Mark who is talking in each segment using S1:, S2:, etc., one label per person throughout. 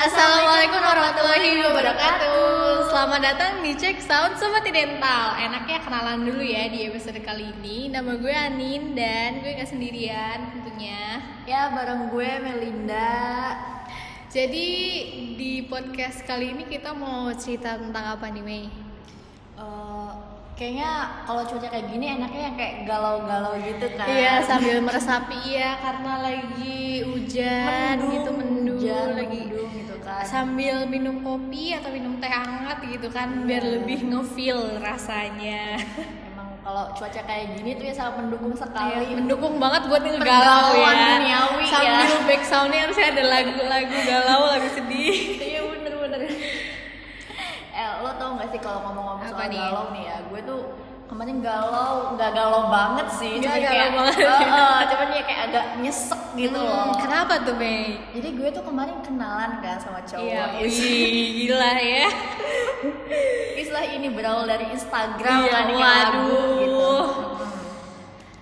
S1: Assalamualaikum warahmatullahi wabarakatuh Selamat datang di Cek Sound Sobat Dental Enaknya kenalan dulu ya di episode kali ini Nama gue Anin dan gue gak sendirian tentunya
S2: Ya, bareng gue Melinda.
S1: Jadi di podcast kali ini kita mau cerita tentang apa nih Mei?
S2: Eh, kayaknya kalau cuaca kayak gini enaknya yang kayak galau-galau gitu kan.
S1: Iya sambil meresapi ya karena lagi hujan
S2: Mendung,
S1: gitu mendung
S2: hujan,
S1: lagi
S2: mendung gitu kan.
S1: sambil minum kopi atau minum teh hangat gitu kan biar lebih ngefeel rasanya.
S2: Emang kalau cuaca kayak gini tuh ya sangat mendukung sekali.
S1: Iya, mendukung banget buat ngegalau
S2: Pergalauan
S1: ya.
S2: duniawi ya.
S1: sambil back soundnya harusnya ada lagu-lagu galau, lagu sedih.
S2: Iya bener-bener. eh, lo tau gak sih kalau ngomong-ngomong
S1: Apa
S2: soal
S1: nih?
S2: galau nih ya, gue tuh kemarin galau, nggak galau banget sih,
S1: Nggak
S2: cuman
S1: galau
S2: kayak,
S1: banget.
S2: Eh, eh, cuman ya kayak agak nyesek gitu
S1: Hmm,
S2: loh.
S1: Kenapa tuh Mei?
S2: Jadi gue tuh kemarin kenalan kan sama cowok.
S1: Iya,
S2: Is-
S1: wih, gila ya.
S2: istilah ini berawal dari Instagram
S1: Iya,
S2: kan yang lagu
S1: waduh.
S2: gitu. Hmm.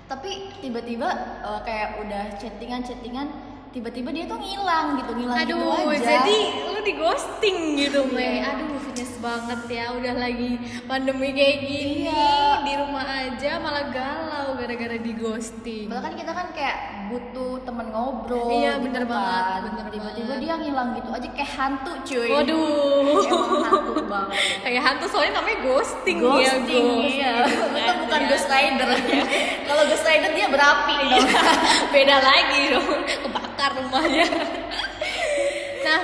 S2: Tapi tiba-tiba eh, kayak udah chattingan-chattingan, tiba-tiba dia tuh ngilang gitu, ngilang gitu
S1: Aduh,
S2: aja.
S1: jadi lu di ghosting gitu Mei.
S2: Iya.
S1: Aduh, nyes banget ya. Udah lagi pandemi kayak gini,
S2: Iya.
S1: di rumah aja malah galau gara-gara di ghosting.
S2: Bahkan kita kan kayak butuh temen ngobrol.
S1: Iya, bener
S2: kan.
S1: banget, bener
S2: Tiba-tiba
S1: banget.
S2: dia ngilang gitu aja kayak hantu cuy.
S1: Waduh.
S2: Emang hantu banget.
S1: Kayak hantu soalnya namanya ghosting, ya,
S2: Ghosting, iya. Itu bukan
S1: Iya.
S2: Ghost Rider ya. Kalau Ghost Rider dia berapi. dong.
S1: beda lagi dong kebakar rumahnya nah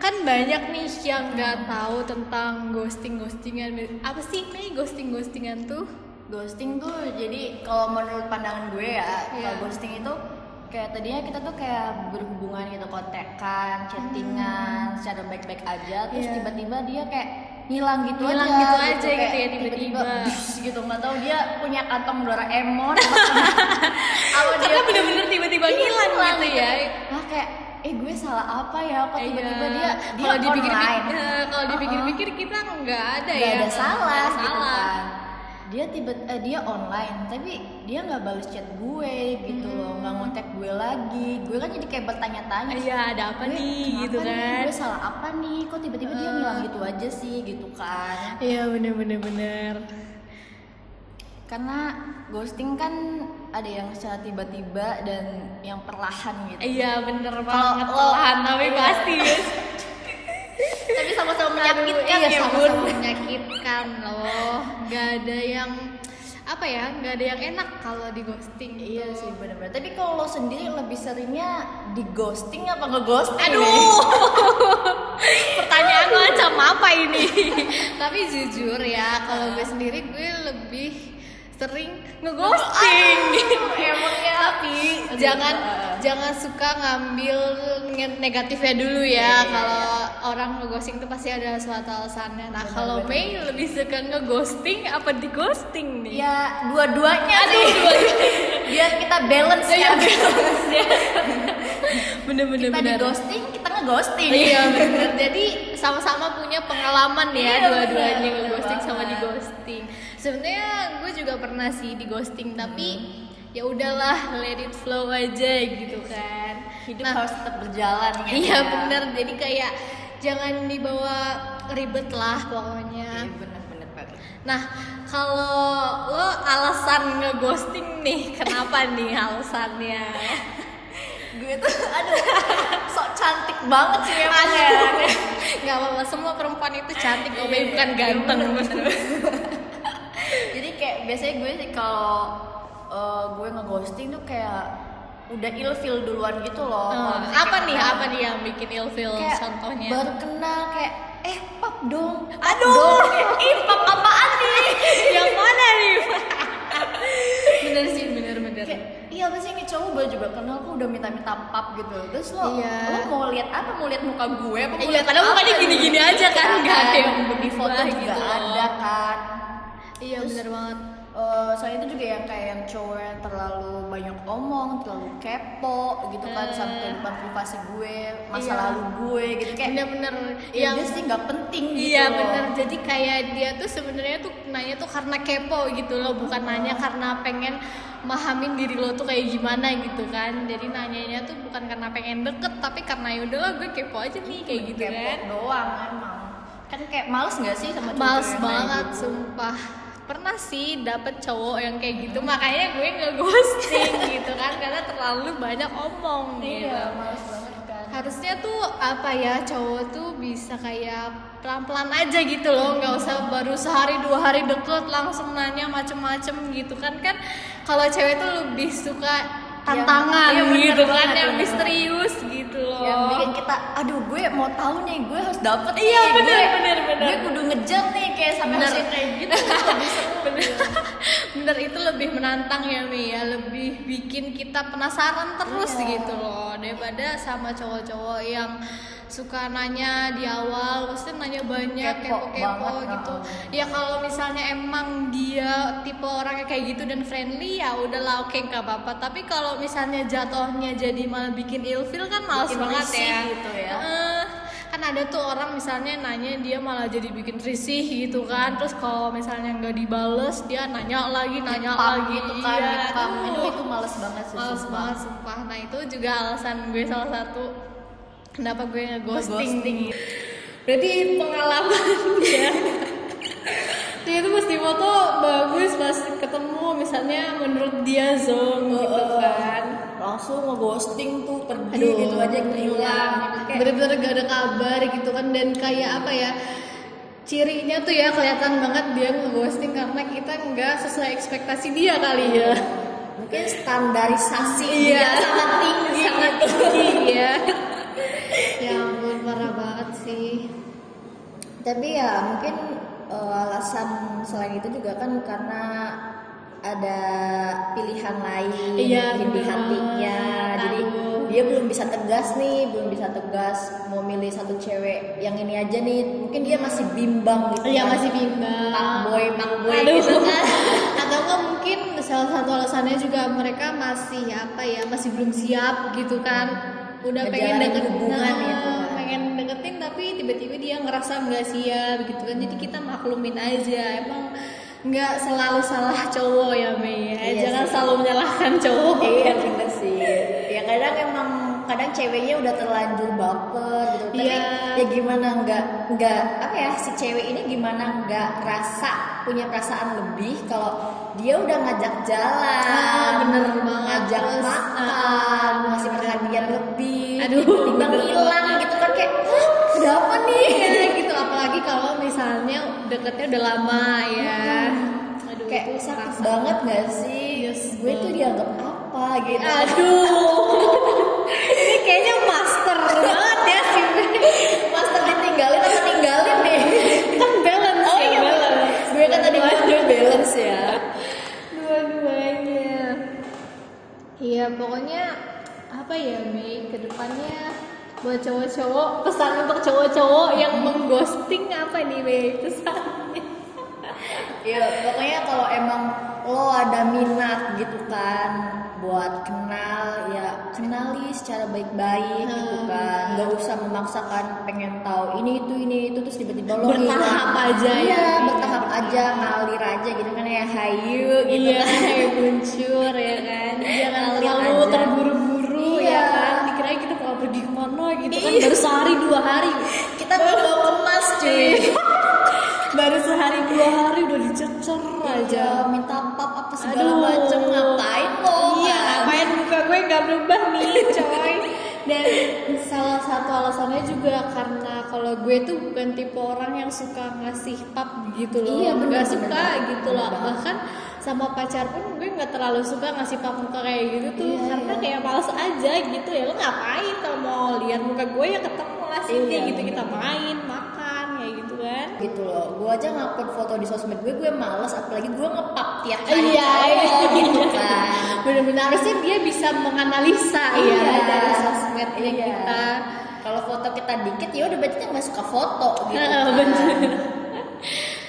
S1: kan banyak nih yang nggak tahu tentang ghosting ghostingan apa sih nih ghosting ghostingan tuh
S2: ghosting tuh jadi kalau menurut pandangan gue ya
S1: Iya.
S2: kalau ghosting itu kayak tadinya kita tuh kayak berhubungan gitu kontekan chattingan secara baik-baik aja terus
S1: Hmm. Iya.
S2: tiba-tiba dia kayak ngilang gitu
S1: Ngilang
S2: aja
S1: gitu aja gitu
S2: kayak
S1: ya, tiba-tiba.
S2: bus gitu nggak tahu dia punya kantong Doraemon apa apa
S1: karena bener-bener tiba-tiba ngilang gitu ya
S2: Hah, kayak eh gue salah apa ya kok tiba-tiba
S1: Iya.
S2: dia dia
S1: kalau dipikir-pikir
S2: online.
S1: eh, kalau dipikir-pikir kita nggak ada
S2: Iya, nggak
S1: ya
S2: ada salah
S1: nggak
S2: gitu
S1: salah.
S2: kan dia tiba eh, dia online tapi dia nggak balas chat gue gitu loh nggak ngontek gue lagi gue kan jadi kayak bertanya-tanya
S1: iya ada apa
S2: gue
S1: nih
S2: kenapa
S1: gitu
S2: nih?
S1: kan
S2: gue salah apa nih kok tiba-tiba dia
S1: Eh.
S2: ngilang gitu aja sih gitu kan
S1: iya bener-bener bener
S2: karena ghosting kan ada yang secara tiba-tiba dan yang perlahan gitu
S1: iya bener
S2: Kalau
S1: banget
S2: lo-
S1: perlahan tapi
S2: iya.
S1: pasti
S2: tapi sama-sama
S1: menyakitkan
S2: menyakitkan
S1: ya,
S2: ya
S1: bun
S2: bun.
S1: menyakitkan loh nggak ada yang apa ya nggak ada yang enak kalau di ghosting gitu.
S2: Iya sih benar-benar. Tapi kalau lo sendiri lebih seringnya di ghosting apa nge ghosting?
S1: aduh pertanyaan macam apa ini tapi jujur ya kalau gue sendiri gue lebih sering ngeghosting
S2: emang ya.
S1: tapi jangan jangan suka ngambil nge- negatifnya dulu
S2: Iya,
S1: ya kalau orang ngeghosting tuh pasti ada suatu alasannya nah kalau Mei lebih suka ngeghosting apa di ghosting nih
S2: Ya dua-duanya
S1: Aduh,
S2: sih. Biar kita balance
S1: Iya,
S2: ya.
S1: bener-bener
S2: Kita di ghosting, kita nge-ghosting.
S1: iya bener jadi sama-sama punya pengalaman ya
S2: Iya,
S1: dua-duanya
S2: bener, bener
S1: ngeghosting sama di
S2: banget.
S1: ghosting sebenarnya gue juga pernah sih di ghosting tapi
S2: Hmm.
S1: ya udahlah let it flow aja gitu kan
S2: Hidup
S1: Nah,
S2: harus tetap berjalan ya.
S1: iya bener jadi kayak jangan dibawa ribet lah pokoknya
S2: Iya. benar-benar banget.
S1: Nah, kalau lo alasan ngeghosting nih, kenapa nih alasannya?
S2: Gue tuh aduh sok cantik banget sih emang ya.
S1: Gak apa-apa, semua perempuan itu cantik, kok Bay, bukan ganteng.
S2: Jadi kayak biasanya gue sih kalau eh, gue nge-ghosting tuh kayak udah ilfil duluan gitu loh.
S1: Eh,
S2: Kalau misalnya
S1: apa
S2: kayak
S1: nih,
S2: kenal.
S1: apa nih yang bikin ilfil
S2: kayak
S1: contohnya?
S2: baru kenal kayak eh pap dong.
S1: Aduh,
S2: Ih, pap apaan nih?
S1: yang mana nih? bener sih, bener-bener.
S2: Kayak, iya apa sih ini cowok baru juga kenal kok udah minta-minta pap gitu terus lo
S1: Iya.
S2: lo mau lihat apa mau lihat muka gue apa mau
S1: Iya,
S2: lihat
S1: padahal
S2: apa
S1: mukanya
S2: gitu?
S1: gini-gini aja kan,
S2: Iya
S1: nggak ada yang
S2: di foto
S1: berubah
S2: juga
S1: gitu loh.
S2: ada kan
S1: Iya, bener banget.
S2: eh soalnya itu juga yang kayak yang cowok yang terlalu banyak omong, terlalu kepo gitu kan sama kehidupan privasi gue, masa
S1: Hmm. Iya.
S2: lalu gue gitu kayak
S1: bener-bener
S2: yang
S1: yang
S2: sih nggak penting gitu.
S1: Iya
S2: loh.
S1: bener, jadi kayak dia tuh sebenarnya tuh nanya tuh karena kepo gitu loh Bukan nanya karena pengen mahamin diri lo tuh kayak gimana gitu kan Jadi nanyanya tuh bukan karena pengen deket Tapi karena yaudah lah gue kepo aja nih kayak gitu
S2: kepo
S1: kan
S2: doang emang. Kan kayak males nggak sih sama cowok
S1: Males
S2: yang kayak
S1: banget
S2: gitu?
S1: sumpah Pernah sih dapet cowok yang kayak gitu Makanya gue nge-ghosting gitu kan Karena terlalu banyak omong gitu
S2: Iya, males banget kan.
S1: harusnya tuh apa ya cowok tuh bisa kayak pelan-pelan aja gitu loh nggak usah baru sehari dua hari deket langsung nanya macem-macem gitu kan kan kalau cewek tuh lebih suka tantangan
S2: Yang- iya, bener
S1: gitu kan
S2: banget,
S1: yang
S2: bener.
S1: misterius gitu loh
S2: yang bikin Iya, kita aduh gue mau tahu nih gue harus dapet
S1: Iya,
S2: nih,
S1: bener,
S2: gue-
S1: bener, bener.
S2: gue kudu ngejar nih kayak sampai
S1: Bener.
S2: hasil kayak gitu Lebih seru.
S1: bener itu lebih menantang ya Mi ya lebih bikin kita penasaran terus
S2: Iya.
S1: gitu loh daripada sama cowok-cowok yang suka nanya di awal pasti nanya banyak
S2: Kepo
S1: kepo-kepo
S2: banget,
S1: gitu
S2: heeh.
S1: ya kalau misalnya emang dia tipe orangnya kayak gitu dan friendly ya udahlah oke nggak apa-apa tapi kalau misalnya jatohnya jadi malah bikin ilfil kan males
S2: Bikin
S1: banget
S2: risih
S1: ya
S2: gitu ya.
S1: Heeh. kan ada tuh orang misalnya nanya dia malah jadi bikin risih gitu kan terus kalau misalnya nggak dibales dia nanya lagi nanya
S2: Pam
S1: lagi
S2: gitu kan
S1: Iya,
S2: pam
S1: aduh.
S2: itu itu males banget sih
S1: males
S2: sumpah.
S1: banget sumpah nah itu juga alasan gue salah satu kenapa gue ngeghosting
S2: Ngeghosting.
S1: berarti pengalaman ya Nah, dia tuh pasti foto bagus pas ketemu misalnya menurut dia zong
S2: Oh,
S1: gitu kan
S2: langsung ngeghosting tuh pergi
S1: Aduh,
S2: gitu aja gitu
S1: Iya,
S2: hilang Kayak-
S1: bener-bener gak ada kabar gitu kan dan kayak apa ya cirinya tuh ya kelihatan banget dia ngeghosting karena kita nggak sesuai ekspektasi dia kali ya
S2: mungkin standarisasi
S1: Iya.
S2: dia sangat tinggi gitu.
S1: sangat tinggi ya ya ampun parah banget sih
S2: tapi ya mungkin eh, alasan selain itu juga kan karena ada pilihan lain
S1: Iya,
S2: mungkin di
S1: bener
S2: hatinya
S1: banget.
S2: jadi
S1: Aduh.
S2: dia belum bisa tegas nih belum bisa tegas mau milih satu cewek yang ini aja nih mungkin dia masih bimbang gitu
S1: Iya
S2: kan.
S1: masih bimbang
S2: pak boy pak boy
S1: Aduh.
S2: gitu kan
S1: atau nggak mungkin salah satu alasannya juga mereka masih apa ya masih belum siap gitu kan udah pengen
S2: Ngejalanin
S1: deket
S2: hubungan
S1: nah,
S2: gitu kan.
S1: pengen deketin tapi tiba-tiba dia ngerasa nggak siap gitu kan jadi kita maklumin aja emang nggak selalu salah cowok ya Mei ya
S2: Iya
S1: jangan
S2: sih.
S1: selalu menyalahkan cowok
S2: iya bener sih ya kadang emang kadang ceweknya udah terlanjur baper gitu tapi
S1: Iya.
S2: ya gimana nggak nggak apa ya si cewek ini gimana nggak rasa punya perasaan lebih kalau dia udah ngajak jalan
S1: Ah, bener banget.
S2: ngajak
S1: Terus, ah,
S2: makan ngasih perhatian lebih
S1: Aduh,
S2: tiba
S1: bener
S2: hilang gitu kan kayak "Hah, ada apa nih
S1: Iya, gitu apalagi kalau misalnya deketnya udah lama ya aduh
S2: kayak
S1: itu
S2: sakit
S1: kerasa.
S2: banget gak sih gue tuh dianggap apa gitu
S1: Ah, aduh ini kayaknya master banget ya si
S2: master ditinggalin atau ninggalin deh
S1: kan balance
S2: Oh iya balance. Gue kan tadi bilang gue balance ya.
S1: dua-duanya iya pokoknya apa ya Mei kedepannya buat cowok-cowok pesan untuk cowok-cowok yang mengghosting apa nih Mei pesannya
S2: Ya pokoknya kalau emang lo ada minat gitu kan buat kenal ya kenali secara baik-baik gitu
S1: Hmm.
S2: kan nggak usah memaksakan pengen tahu ini itu ini itu terus tiba-tiba lo
S1: Bertahap
S2: hilang.
S1: aja ya.
S2: iya bertahap aja ngalir aja gitu kan ya hayu gitu
S1: iya
S2: kan
S1: kayak muncul ya kan jangan
S2: Ngalir
S1: terlalu
S2: aja.
S1: terburu-buru
S2: Iya.
S1: ya kan dikira kita mau pergi kemana gitu kan
S2: Iya.
S1: baru sehari dua hari
S2: kita nggak bawa kemas cuy
S1: Iya. baru sehari dua hari udah dicecer aja
S2: aja Iya, minta pap apa segala
S1: Aduh.
S2: macem ngapain lo
S1: iya
S2: kan?
S1: ngapain muka gue nggak berubah nih coy dan salah satu alasannya juga karena kalau gue tuh bukan tipe orang yang suka ngasih pap gitu loh
S2: Iya, bener,
S1: Nggak suka
S2: bener.
S1: gitu loh bahkan sama pacar pun gue nggak terlalu suka ngasih pap muka kayak gitu tuh
S2: Iya,
S1: karena
S2: iya.
S1: kayak males aja gitu ya lo ngapain kalau mau lihat muka gue ya ketemu lah sih
S2: Iya,
S1: kayak gitu
S2: bener.
S1: kita main makan kayak gitu kan
S2: gitu loh gue aja ngupload foto di sosmed gue gue males apalagi gue ngepap tiap
S1: Iya,
S2: hari
S1: iya,
S2: cowok gitu
S1: iya.
S2: kan
S1: Benar-benar harusnya dia bisa menganalisa
S2: Iya,
S1: ya dari sosmed yang
S2: iya.
S1: kita.
S2: kalau foto kita dikit ya udah berarti dia nggak suka foto gitu
S1: Nah,
S2: kan.
S1: bener.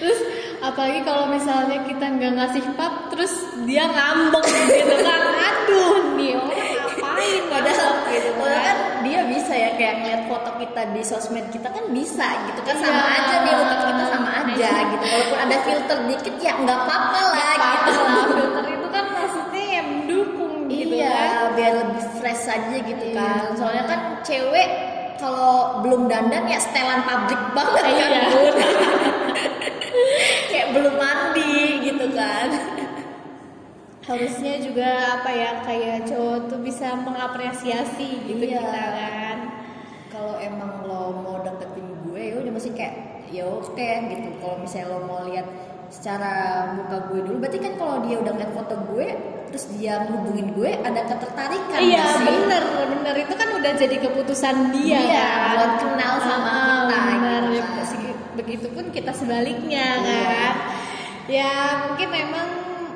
S1: Terus apalagi kalau misalnya kita nggak ngasih pap terus dia ngambek gitu kan aduh nih orang ngapain
S2: padahal
S1: ngambek gitu
S2: padahal kan dia bisa ya kayak ngeliat foto kita di sosmed kita kan bisa gitu kan sama
S1: Iya.
S2: aja nih otak kita sama aja gitu walaupun ada filter dikit ya nggak apa-apa lah
S1: Apa-apa
S2: gitu
S1: lah, filter itu kan maksudnya yang mendukung gitu
S2: iya
S1: kan
S2: biar lebih fresh aja gitu
S1: Iya.
S2: kan soalnya kan cewek kalau belum dandan ya setelan pabrik banget kan
S1: Iya.
S2: Bun. kayak belum mandi gitu kan
S1: harusnya juga apa ya kayak cowok tuh bisa mengapresiasi gitu
S2: Iya.
S1: kita kan
S2: kalau emang lo mau deketin gue ya udah mesti kayak ya oke gitu kalau misalnya lo mau lihat secara muka gue dulu berarti kan kalau dia udah ngeliat foto gue terus dia hubungin gue ada ketertarikan
S1: iya
S2: nggak sih
S1: bener bener itu kan udah jadi keputusan dia
S2: Iya,
S1: kan
S2: buat kenal sama
S1: Ah,
S2: kita,
S1: bener.
S2: gitu kan.
S1: Besi- begitupun kita sebaliknya
S2: Iya.
S1: kan ya mungkin memang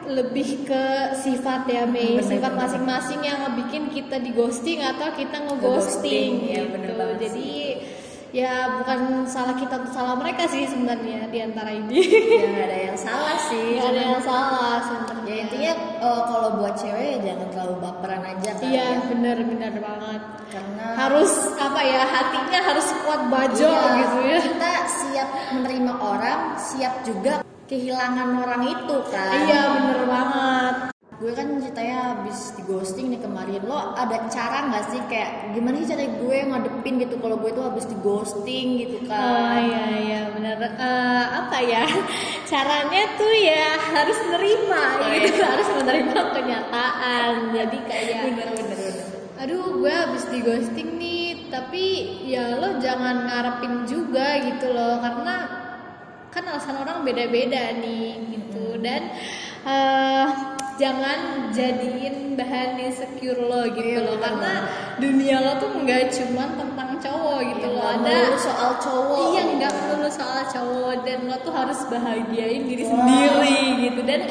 S1: lebih ke sifat ya Mei
S2: Bener,
S1: sifat
S2: bener.
S1: masing-masing yang ngebikin kita di ghosting atau kita ngeghosting
S2: Nge-ghosting, iya, bener
S1: gitu
S2: banget
S1: jadi ya bukan salah kita salah mereka sih sebenarnya di antara ini
S2: ya nggak ada yang salah sih
S1: Gak ada yang salah sebenarnya.
S2: ya intinya eh, kalau buat cewek ya jangan terlalu baperan aja kan
S1: Iya benar benar banget.
S2: karena
S1: Harus apa ya hatinya harus kuat bajo
S2: Iya,
S1: gitu ya.
S2: kita siap menerima orang siap juga kehilangan orang itu kan
S1: Iya benar banget.
S2: gue kan ceritanya habis di ghosting nih kemarin lo ada cara nggak sih kayak gimana sih cara gue ngadepin gitu kalau gue tuh habis di ghosting gitu
S1: Oh
S2: kan
S1: iya iya benar. Eh, apa ya caranya tuh ya harus nerima gitu harus menerima kenyataan. Jadi kayak
S2: Iya, bener bener
S1: aduh gue habis di ghosting nih tapi ya lo jangan ngarepin juga gitu loh karena kan alasan orang beda-beda nih gitu dan eh, jangan jadiin bahan insecure lo gitu
S2: Iya,
S1: loh
S2: bener
S1: karena dunia lo tuh nggak cuman tentang cowok gitu loh
S2: ada
S1: ada
S2: soal cowok
S1: Iya nggak perlu soal cowok dan lo tuh harus bahagiain diri
S2: Wow.
S1: sendiri gitu dan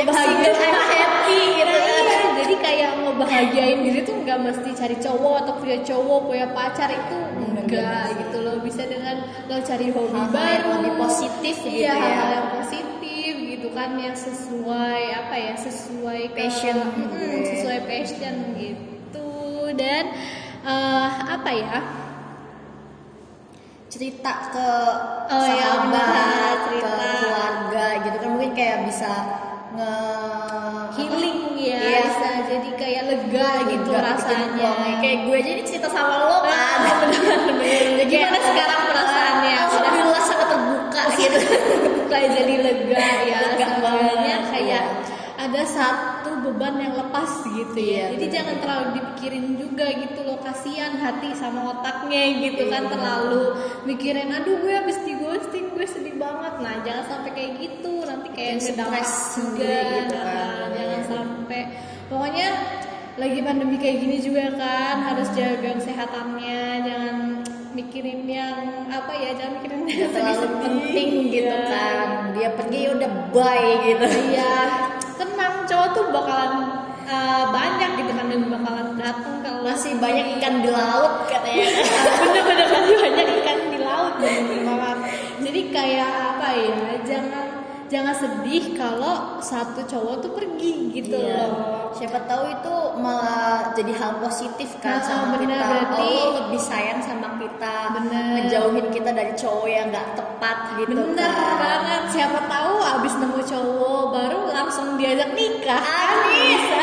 S2: I'm single, I'm happy, gitu
S1: Nah,
S2: kan.
S1: iya. jadi kayak mau bahagiain diri tuh nggak mesti cari cowok atau punya cowok punya pacar itu enggak
S2: bener sih.
S1: gitu lo bisa dengan lo cari hobi
S2: Hal-hal yang
S1: baru
S2: lebih positif gitu
S1: iya,
S2: ya.
S1: hal-hal yang positif gitu kan yang sesuai apa ya sesuai ke-
S2: Passion
S1: Mm-mm,
S2: gue.
S1: sesuai passion gitu dan eh, apa ya
S2: cerita ke
S1: Oh, iya, bener,
S2: sahabat
S1: cerita.
S2: ke keluarga gitu kan mungkin kayak bisa nge
S1: healing ya
S2: Iya.
S1: bisa jadi kayak lega
S2: apa,
S1: gitu
S2: lega, bikin
S1: rasanya
S2: plong. kayak gue jadi cerita sama lo kan
S1: Ah, bener-bener. gimana
S2: Kayak, ah,
S1: sekarang perasaannya udah Oh,
S2: alhamdulillah sangat terbuka gitu
S1: kayak jadi lega
S2: Iya,
S1: ya
S2: Lega
S1: sebenarnya
S2: banget.
S1: kayak ada satu beban yang lepas gitu ya
S2: Iya,
S1: jadi
S2: bener.
S1: jangan terlalu dipikirin juga gitu loh kasihan hati sama otaknya gitu
S2: Iya,
S1: kan
S2: bener.
S1: terlalu mikirin aduh gue habis di ghosting gue sedih banget nah jangan sampai kayak gitu nanti kayak
S2: Bikin
S1: ngedampak
S2: stres
S1: juga
S2: sendiri gitu kan.
S1: nah, jangan sampai pokoknya lagi pandemi kayak gini juga
S2: Iya.
S1: kan harus jaga kesehatannya jangan mikirin yang apa ya jangan mikirin yang
S2: terlalu
S1: sedih-sedih.
S2: penting gitu
S1: Iya.
S2: kan dia pergi ya udah bye gitu
S1: iya tenang cowok tuh bakalan uh, banyak gitu kan dan bakalan datang kalau
S2: masih banyak ikan di laut katanya
S1: bener-bener masih banyak ikan di laut bener-bener banget. jadi kayak apa ya jangan jangan sedih kalau satu cowok tuh pergi gitu
S2: Iya.
S1: loh
S2: siapa tahu itu malah jadi hal positif
S1: Ah,
S2: kan sama
S1: benar,
S2: kita
S1: berarti-
S2: oh, lebih sayang sama kita
S1: Benar.
S2: ngejauhin kita dari cowok yang nggak tepat gitu
S1: Bener
S2: kan.
S1: banget, siapa tahu abis nemu cowok baru langsung diajak nikah kan?
S2: Amin.
S1: Bisa,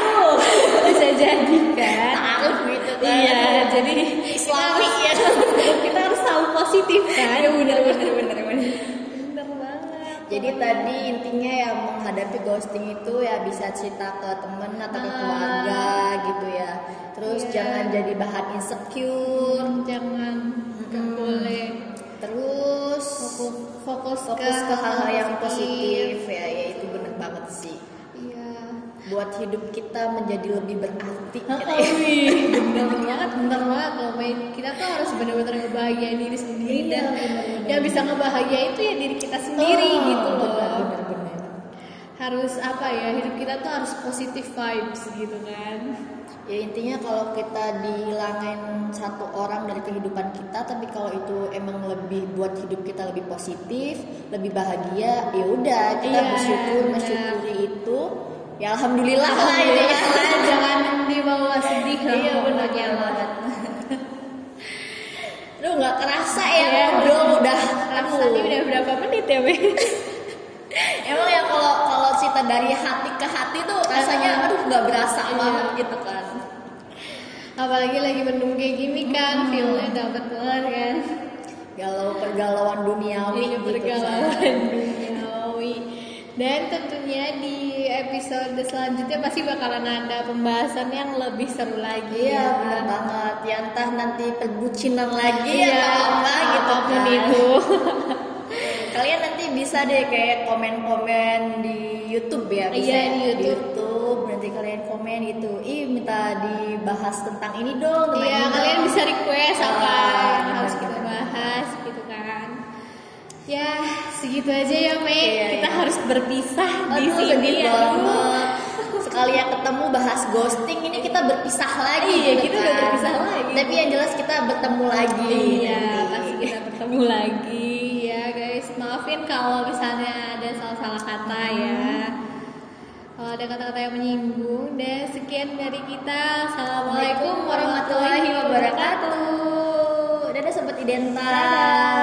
S1: bisa jadi kan
S2: Ta'aruf gitu kan.
S1: Iya, jadi
S2: Islami ya. Iya,
S1: kita harus- Kita harus tahu positif kan
S2: bener bener bener bener
S1: Bener banget
S2: jadi tadi intinya ya menghadapi ghosting itu ya bisa cerita ke temen atau ke
S1: Ah.
S2: keluarga gitu ya terus
S1: Iya.
S2: jangan jadi bahan insecure
S1: Jangan, nggak
S2: Mm-mm.
S1: boleh
S2: terus
S1: fokus, fokus,
S2: fokus ke hal-hal yang positif ya ya itu bener banget sih
S1: Iya
S2: buat hidup kita menjadi lebih berarti gitu ya.
S1: Wih, bener banget, bener ya kan? banget loh main. Kita tuh harus benar-benar ngebahagiain diri sendiri
S2: Iya,
S1: dan
S2: bener-bener.
S1: yang bisa ngebahagiain itu ya diri kita sendiri
S2: Oh,
S1: gitu loh.
S2: benar, benar, benar.
S1: Harus apa ya hidup kita tuh harus positive vibes gitu kan.
S2: ya intinya kalau kita dihilangin satu orang dari kehidupan kita kita tapi kalau itu emang lebih buat hidup kita lebih positif lebih bahagia ya udah kita
S1: Iya,
S2: bersyukur
S1: benar.
S2: mensyukuri itu ya alhamdulillah lah ini
S1: Alhamdulillah
S2: kan.
S1: lah, Iya. jangan dibawa sedih lah
S2: Iya, benar
S1: pokoknya lah.
S2: banget. Aduh nggak kerasa ya
S1: Iya,
S2: ngobrol udah
S1: Rasa
S2: aduh.
S1: ini udah berapa menit ya, Be?
S2: Emang ya kalau kalau cerita dari hati ke hati tuh rasanya aduh nggak berasa
S1: Iya.
S2: banget gitu kan.
S1: Apalagi lagi mendung kayak gini
S2: Hmm.
S1: kan, feelnya dapet banget kan.
S2: Galau pergalauan duniawi
S1: Ini
S2: gitu kan.
S1: pergaulan duniawi. Iya, Dan tentunya di episode selanjutnya pasti bakalan ada pembahasan yang lebih seru lagi
S2: Iya
S1: ya.
S2: benar banget. Ya entah nanti perbucinan lagi
S1: Iya,
S2: atau apa gitu
S1: apapun
S2: kan.
S1: itu.
S2: Kalian nanti bisa deh kayak komen-komen di YouTube ya bisa
S1: Iya,
S2: ya,
S1: di YouTube.
S2: YouTube. Nanti kalian komen itu, ih minta dibahas tentang ini dong. tentang
S1: Iya,
S2: ini
S1: kalian
S2: dong."
S1: bisa request apa
S2: Ah,
S1: yang harus
S2: benar,
S1: kita
S2: benar.
S1: bahas gitu kan. Ya, segitu aja ya, Mei.
S2: Iya,
S1: kita
S2: iya.
S1: harus berpisah di
S2: Aduh,
S1: sini
S2: sedih
S1: ya.
S2: banget. Sekali yang ketemu bahas ghosting ini kita berpisah lagi.
S1: Iya,
S2: gitu
S1: kita udah berpisah lagi.
S2: Tapi yang jelas kita bertemu lagi.
S1: Iya,
S2: nanti.
S1: pasti kita bertemu lagi ya guys. Maafin kalau misalnya ada salah-salah kata
S2: Hmm.
S1: ya. Kalau ada kata-kata yang menyinggung dan sekian dari kita. Assalamualaikum warahmatullahi wabarakatuh.
S2: Dadah sobat identa.
S1: Dadah.